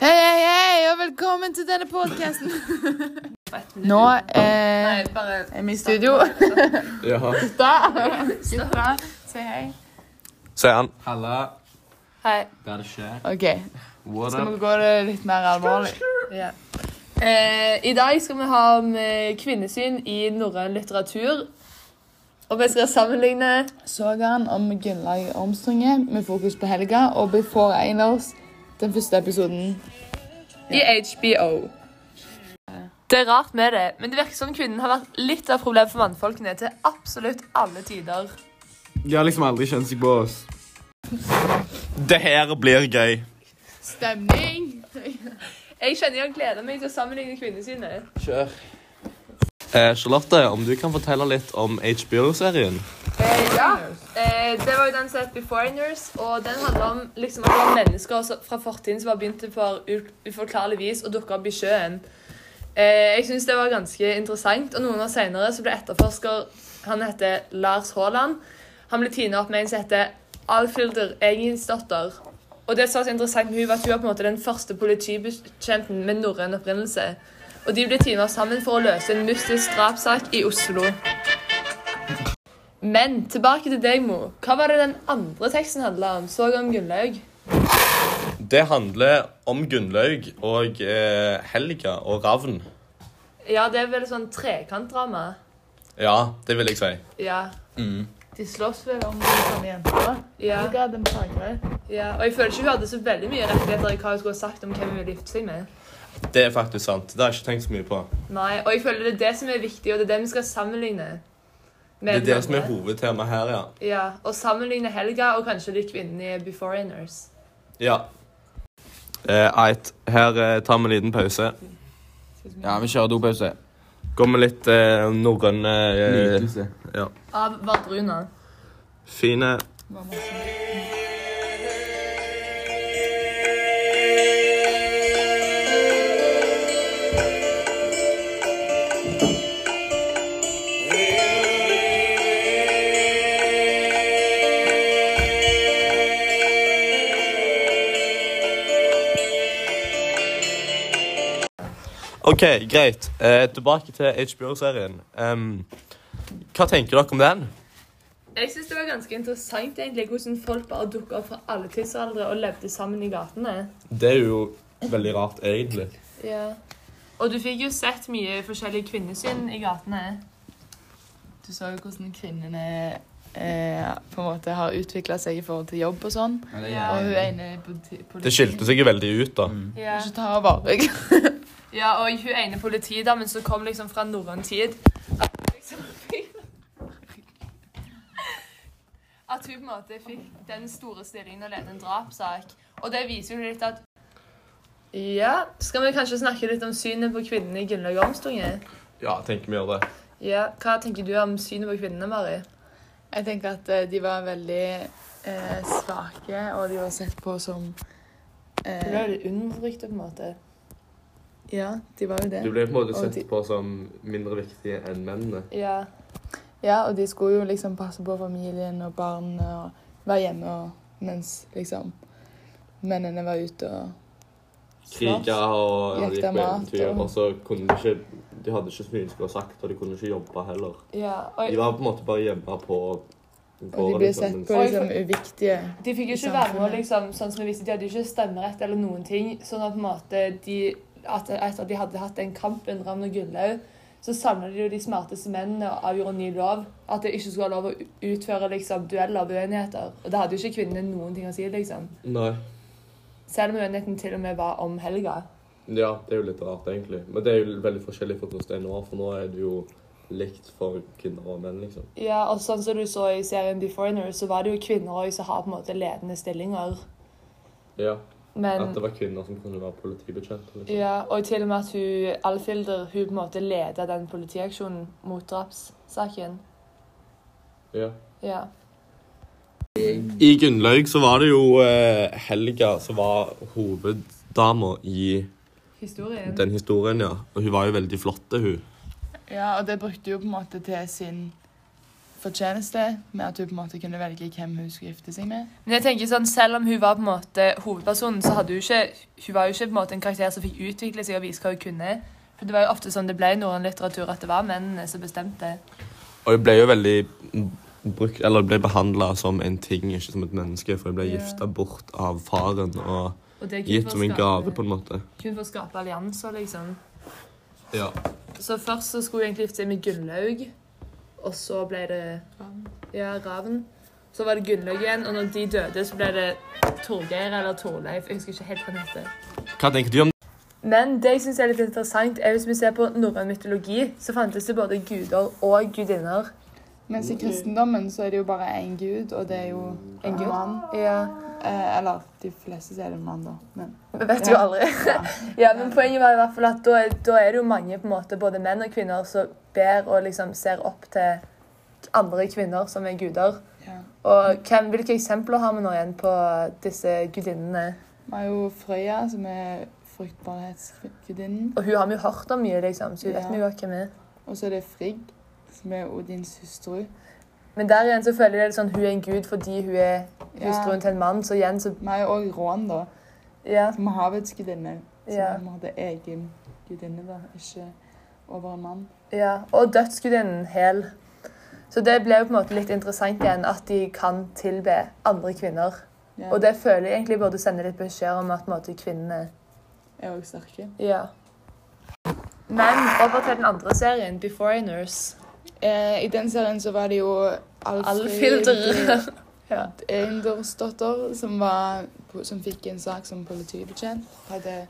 Hei, hei, hei, og velkommen til denne podkasten. Nå eh, bare er vi i studio. Ja. Da. Gutta, si hei. Sier han. Halla. Hei. Hva er det skjer? OK, What skal vi gå det litt mer alvorlig? ja. eh, I dag skal vi ha om eh, kvinnesyn i norrøn litteratur. Og vi skal sammenligne Sågaen om grunnlaget Ormstrange med fokus på helga og Before Einars, den første episoden. i HBO. Det er rart med det, men det virker som kvinnen har vært litt av problemet for mannfolkene til absolutt alle tider. De har liksom aldri kjent seg på oss. Det her blir gøy. Stemning! Jeg kjenner jeg gleder meg til å sammenligne kvinnesynet. Kjør. Eh, Charlotte, om du kan fortelle litt om HBO-serien? Eh, ja. Ah! Eh, det var jo den som het Beforeigners, og den handler om liksom, at det var mennesker som- fra fortiden som bare begynte på u- uforklarlig vis å dukke opp i sjøen. Eh, jeg syns det var ganske interessant, og noen år senere så ble etterforsker Han heter Lars Haaland. Han ble tinet opp med en som heter Alfhilder Egensdotter. Og det som var så interessant med hun var at hun var på en måte den første politibetjenten med norrøn opprinnelse. Og de ble tinet opp sammen for å løse en mystisk drapssak i Oslo. Men tilbake til deg, Mo. Hva var det den andre teksten handla om? Så om Gunnlaug? Det handler om Gunnlaug og eh, Helga og Ravn. Ja, det er vel sånn trekantdrama. Ja, det vil jeg si. Ja. De slåss vel om noen sånne jenter. ja. Helga, den fagre. ja. Og jeg føler ikke hun hadde så veldig mye rettigheter i hva hun skulle ha sagt om hvem hun ville gifte seg med. Det er faktisk sant. Det har jeg ikke tenkt så mye på. Nei, Og jeg føler det er det som er viktig, og det er det vi skal sammenligne. Det med er det som er hverandre. hovedtemaet her, ja. Ja, Og sammenligne Helga og kanskje de kvinnene i Beforeigners. Ja. Eh, Eit, her eh, tar vi en liten pause. Ja, vi kjører dopause. Går med litt eh, norrøne eh, Nytelse. Av Vardruna. Fine OK, greit. Eh, tilbake til HBO-serien. Em, hva tenker dere om den? Jeg synes det var ganske interessant egentlig hvordan folk bare dukka opp fra alle tidsaldre og levde sammen i gatene. Det er jo veldig rart, egentlig. Ja. Og du fikk jo sett mye forskjellige kvinnesyn i gatene. Du så jo hvordan kvinnene eh, på en måte har utvikla seg i forhold til jobb og sånn. Ja. Og hun ene politi... Det skilte seg jo veldig ut, da. Mm. Ja. Ikke ta vare. ja, og hun ene politidamen som kom liksom fra norrøn tid at hun liksom fikk- At hun på en måte fikk den store stillingen å lede en drapssak. Og det viser jo litt at Ja, skal vi kanskje snakke litt om synet på kvinnene i Gunnlaug Ormstunge? Ja, tenker vi gjør det. Ja, hva tenker du om synet på kvinnene, Mari? Jeg tenker at eh, de var veldig eh, svake, og de var sett på som eh, undertrykt på en måte. Ja, de var jo det. Du ble på en måte Og de- sett på som mindre viktige enn mennene. Ja. Ja, og de skulle jo liksom passe på familien og barna og være hjemme og mens liksom mennene var ute og Kriga og ja, de Jakta gikk på mat, eventyr. og- Og så kunne de ikke De hadde ikke så mye de skulle ha sagt, og de kunne ikke jobbe heller. ja. De var på en måte bare hjemme på Og de ble sett på Oi, liksom uviktige. De fikk jo i ikke være med, samfunnet. liksom, sånn som vi visste, de hadde jo ikke stemmerett eller noen ting. Sånn at på en måte de, at etter at de hadde hatt den kampen, Ravn og Gullaug, så samla de jo de smarteste mennene og avgjorde en ny lov. At det ikke skulle være lov å utføre liksom, dueller og uenigheter. Og det hadde jo ikke kvinnene noen ting å si, liksom. Nei. Selv om uenigheten til og med var om helga. Ja, det er jo litt rart, egentlig. Men det er jo veldig forskjellig fra hvordan det er nå, for nå er det jo likt for kvinner og menn, liksom. Ja, og sånn som du så i serien The Foreigner, så var det jo kvinner også som har på en måte ledende stillinger. Ja. Men At det var kvinner som kunne være politibetjente. Liksom. Ja, og til og med at hun, Alfhilder hun på en måte leda den politiaksjonen mot drapssaken. Ja. Ja. I Gunnlaug så var det jo eh, Helga som var hoveddama i Historien. den historien, ja. Og hun var jo veldig flott, hun. Ja, og det brukte jo på en måte til sin fortjeneste med at hun på en måte kunne velge hvem hun skulle gifte seg med. Men jeg tenker sånn, Selv om hun var på en måte hovedpersonen, så hadde hun ikke Hun var jo ikke på en måte en karakter som fikk utvikle seg og vise hva hun kunne. For Det var jo ofte sånn det ble i norrøn litteratur at det var mennene som bestemte. Og jeg ble jo veldig brukt, eller jeg ble behandla som en ting, ikke som et menneske, for jeg ble Ja. gifta bort av faren og Og det er kun gitt for å som en skape- gave, på en måte. Kun for å skape allianser, liksom. Ja. Så først så skulle hun egentlig gifte seg med Gunnlaug, og så ble det ja, Ravn. Så var det Gunnlaug igjen, og når de døde, så ble det Torgeir eller Torleif. Jeg husker ikke helt hva han heter. Hva tenker du om Men det jeg synes er litt interessant, er hvis vi ser på norrøn mytologi, så fantes det både guder og gudinner. Mens i kristendommen så er det jo bare én gud, og det er jo en gud? mann. Ja, Eh, eller de fleste sier det er en mann, da. Men Vi vet jo Ja. aldri. ja. Ja, men Poenget var i hvert fall at da, er- da er det jo mange, på en måte, både menn og kvinner, som ber og liksom ser opp til andre kvinner som er guder. ja. Og hvem, Hvilke eksempler har vi nå igjen på disse gudinnene? Vi har jo Frøya, som er fruktbarhetsgudinnen. Og hun har vi jo hørt om mye, liksom, så hun vet Ja. vi jo hvem er. Og så er det Frigg, som er Odins hustru. Men der igjen så føler jeg det er sånn hun er en gud fordi hun er Ja. hustruen til en mann, så igjen så Vi har jo òg Rån, da, Ja. som er havets gudinne. Som Ja. er på en måte egen gudinne, da. Ikke over en mann. Ja, og dødsgudinnen Hel. Så det ble jo på en måte litt interessant igjen at de kan tilbe andre kvinner. Ja. Og det føler jeg egentlig burde sende litt beskjed om at på en måte kvinnene er òg sterke. Ja. Men over til den andre serien, 'Beforeigners'. Eh, I den serien så var det jo Alfhild Alfhild. Ja. Eindorsdotter, som, var, som fikk en sak som politibetjent. Hadde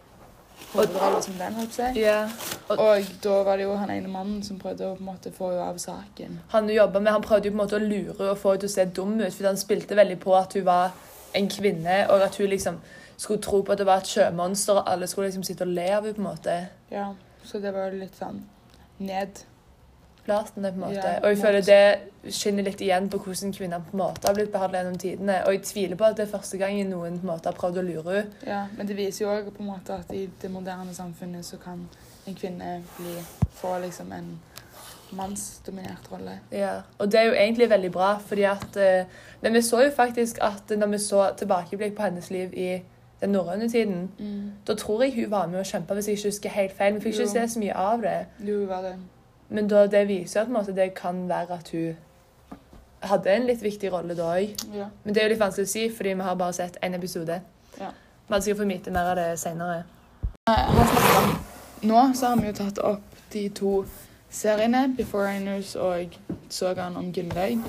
hovedrollen som den, holdt på å si. ja. Og da var det jo han ene mannen som prøvde å på en måte få henne av saken. Han du jobba med, han prøvde jo på en måte å lure henne og få henne til å se dum ut, fordi han spilte veldig på at hun var en kvinne, og at hun liksom skulle tro på at det var et sjømonster, og alle skulle liksom sitte og le av henne på en måte. Ja, så det var jo litt sånn ned. platene, på en måte. Ja, og jeg på en føler måte. det skinner litt igjen på hvordan kvinner på en måte har blitt behandlet gjennom tidene. Og jeg tviler på at det er første gangen noen på en måte har prøvd å lure henne. Ja, Men det viser jo òg på en måte at i det moderne samfunnet så kan en kvinne bli, få liksom en mannsdominert rolle. Og det er jo egentlig veldig bra, fordi at eh, Men vi så jo faktisk at når vi så tilbakeblikk på hennes liv i den norrøne tiden, Mm. da tror jeg hun var med og kjempa, hvis jeg ikke husker helt feil. Vi fikk ikke Jo. se så mye av det. Jo, var det. Men da det viser at på en måte, det kan være at hun hadde en litt viktig rolle da òg. Ja. Men det er jo litt vanskelig å si, fordi vi har bare sett én episode. Ja. Vi hadde sikkert fått vite mer av det seinere. Her snakker vi om- Nå så har vi jo tatt opp de to seriene, 'Beforeigners' og 'Sogaen om Gunnlaug'.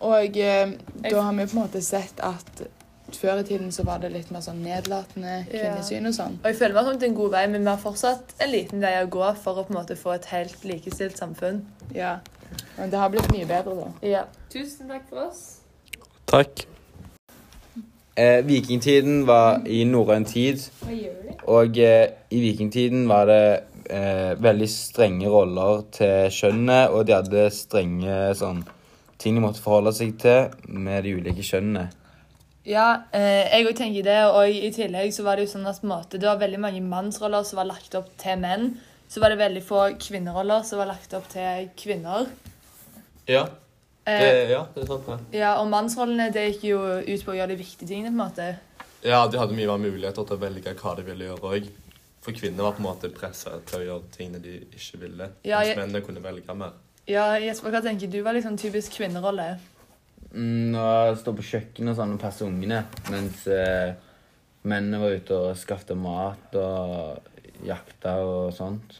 Og eh, da har vi på en måte sett at før i tiden så var det litt mer sånn nedlatende Ja. kvinnesyn og sånn. Og jeg føler vi har kommet en god vei, men vi har fortsatt en liten vei å gå for å på en måte få et helt likestilt samfunn. Ja. Men det har blitt mye bedre, da. Ja. Tusen takk for oss. Takk. Eh, vikingtiden var i norrøn tid, og eh, i vikingtiden var det eh, veldig strenge roller til kjønnet, og de hadde strenge sånn, ting de måtte forholde seg til med de ulike kjønnene. Ja, eh, jeg òg tenker det. Og i tillegg så var det jo sånn at på en måte, det var veldig mange mannsroller som var lagt opp til menn. Så var det veldig få kvinneroller som var lagt opp til kvinner. Ja, det, Eh, ja, det er sant, det. ja, Og mannsrollene det gikk jo ut på å gjøre de viktige tingene. på en måte. Ja, de hadde mye mer muligheter til å velge hva de ville gjøre òg. For kvinner var på en måte pressa til å gjøre tingene de ikke ville. Ja, mens jeg- mennene kunne velge mer. Ja, Jesper, hva tenker du var liksom typisk kvinnerolle? Mm, å stå på kjøkkenet og sånn og passe ungene, mens eh, mennene var ute og skaffte mat og jakta og sånt.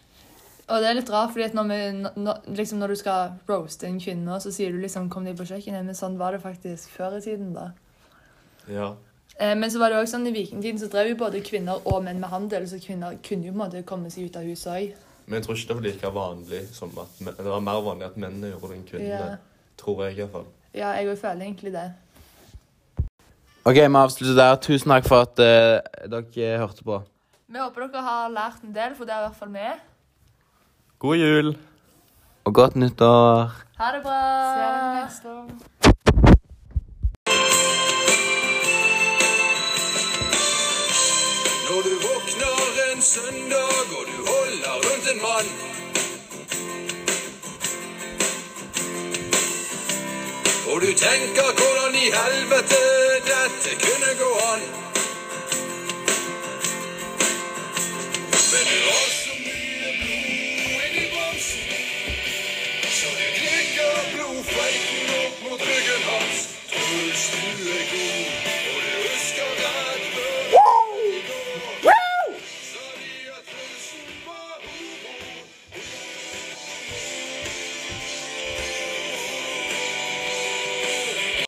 Og det er litt rart, fordi at når, vi, n- n- liksom når du skal roaste en kvinne, nå, så sier du liksom 'kom deg på kjøkkenet', men sånn var det faktisk før i tiden, da. Ja. Eh, men så var det også sånn i vikingtiden så drev jo både kvinner og menn med handel, så kvinner kunne jo på en måte komme seg ut av huset òg. Men jeg tror ikke det var like vanlig som at men- Det var mer vanlig at mennene gjorde det enn kvinnene. Ja. Tror jeg, iallfall. Ja, jeg òg føler egentlig det. Ok, vi avslutter der. Tusen takk for at eh, dere hørte på. Vi håper dere har lært en del, for det er i hvert fall vi. God jul! Og godt nyttår. Ha det bra! Ser dere neste år. Når du våkner en søndag og du holder rundt en mann Og du tenker hvordan i helvete dette kunne gå an. Men det var så mye blod inni bamsen, så du drikker blodfeiten opp mot ryggen hans. Truls, du er god.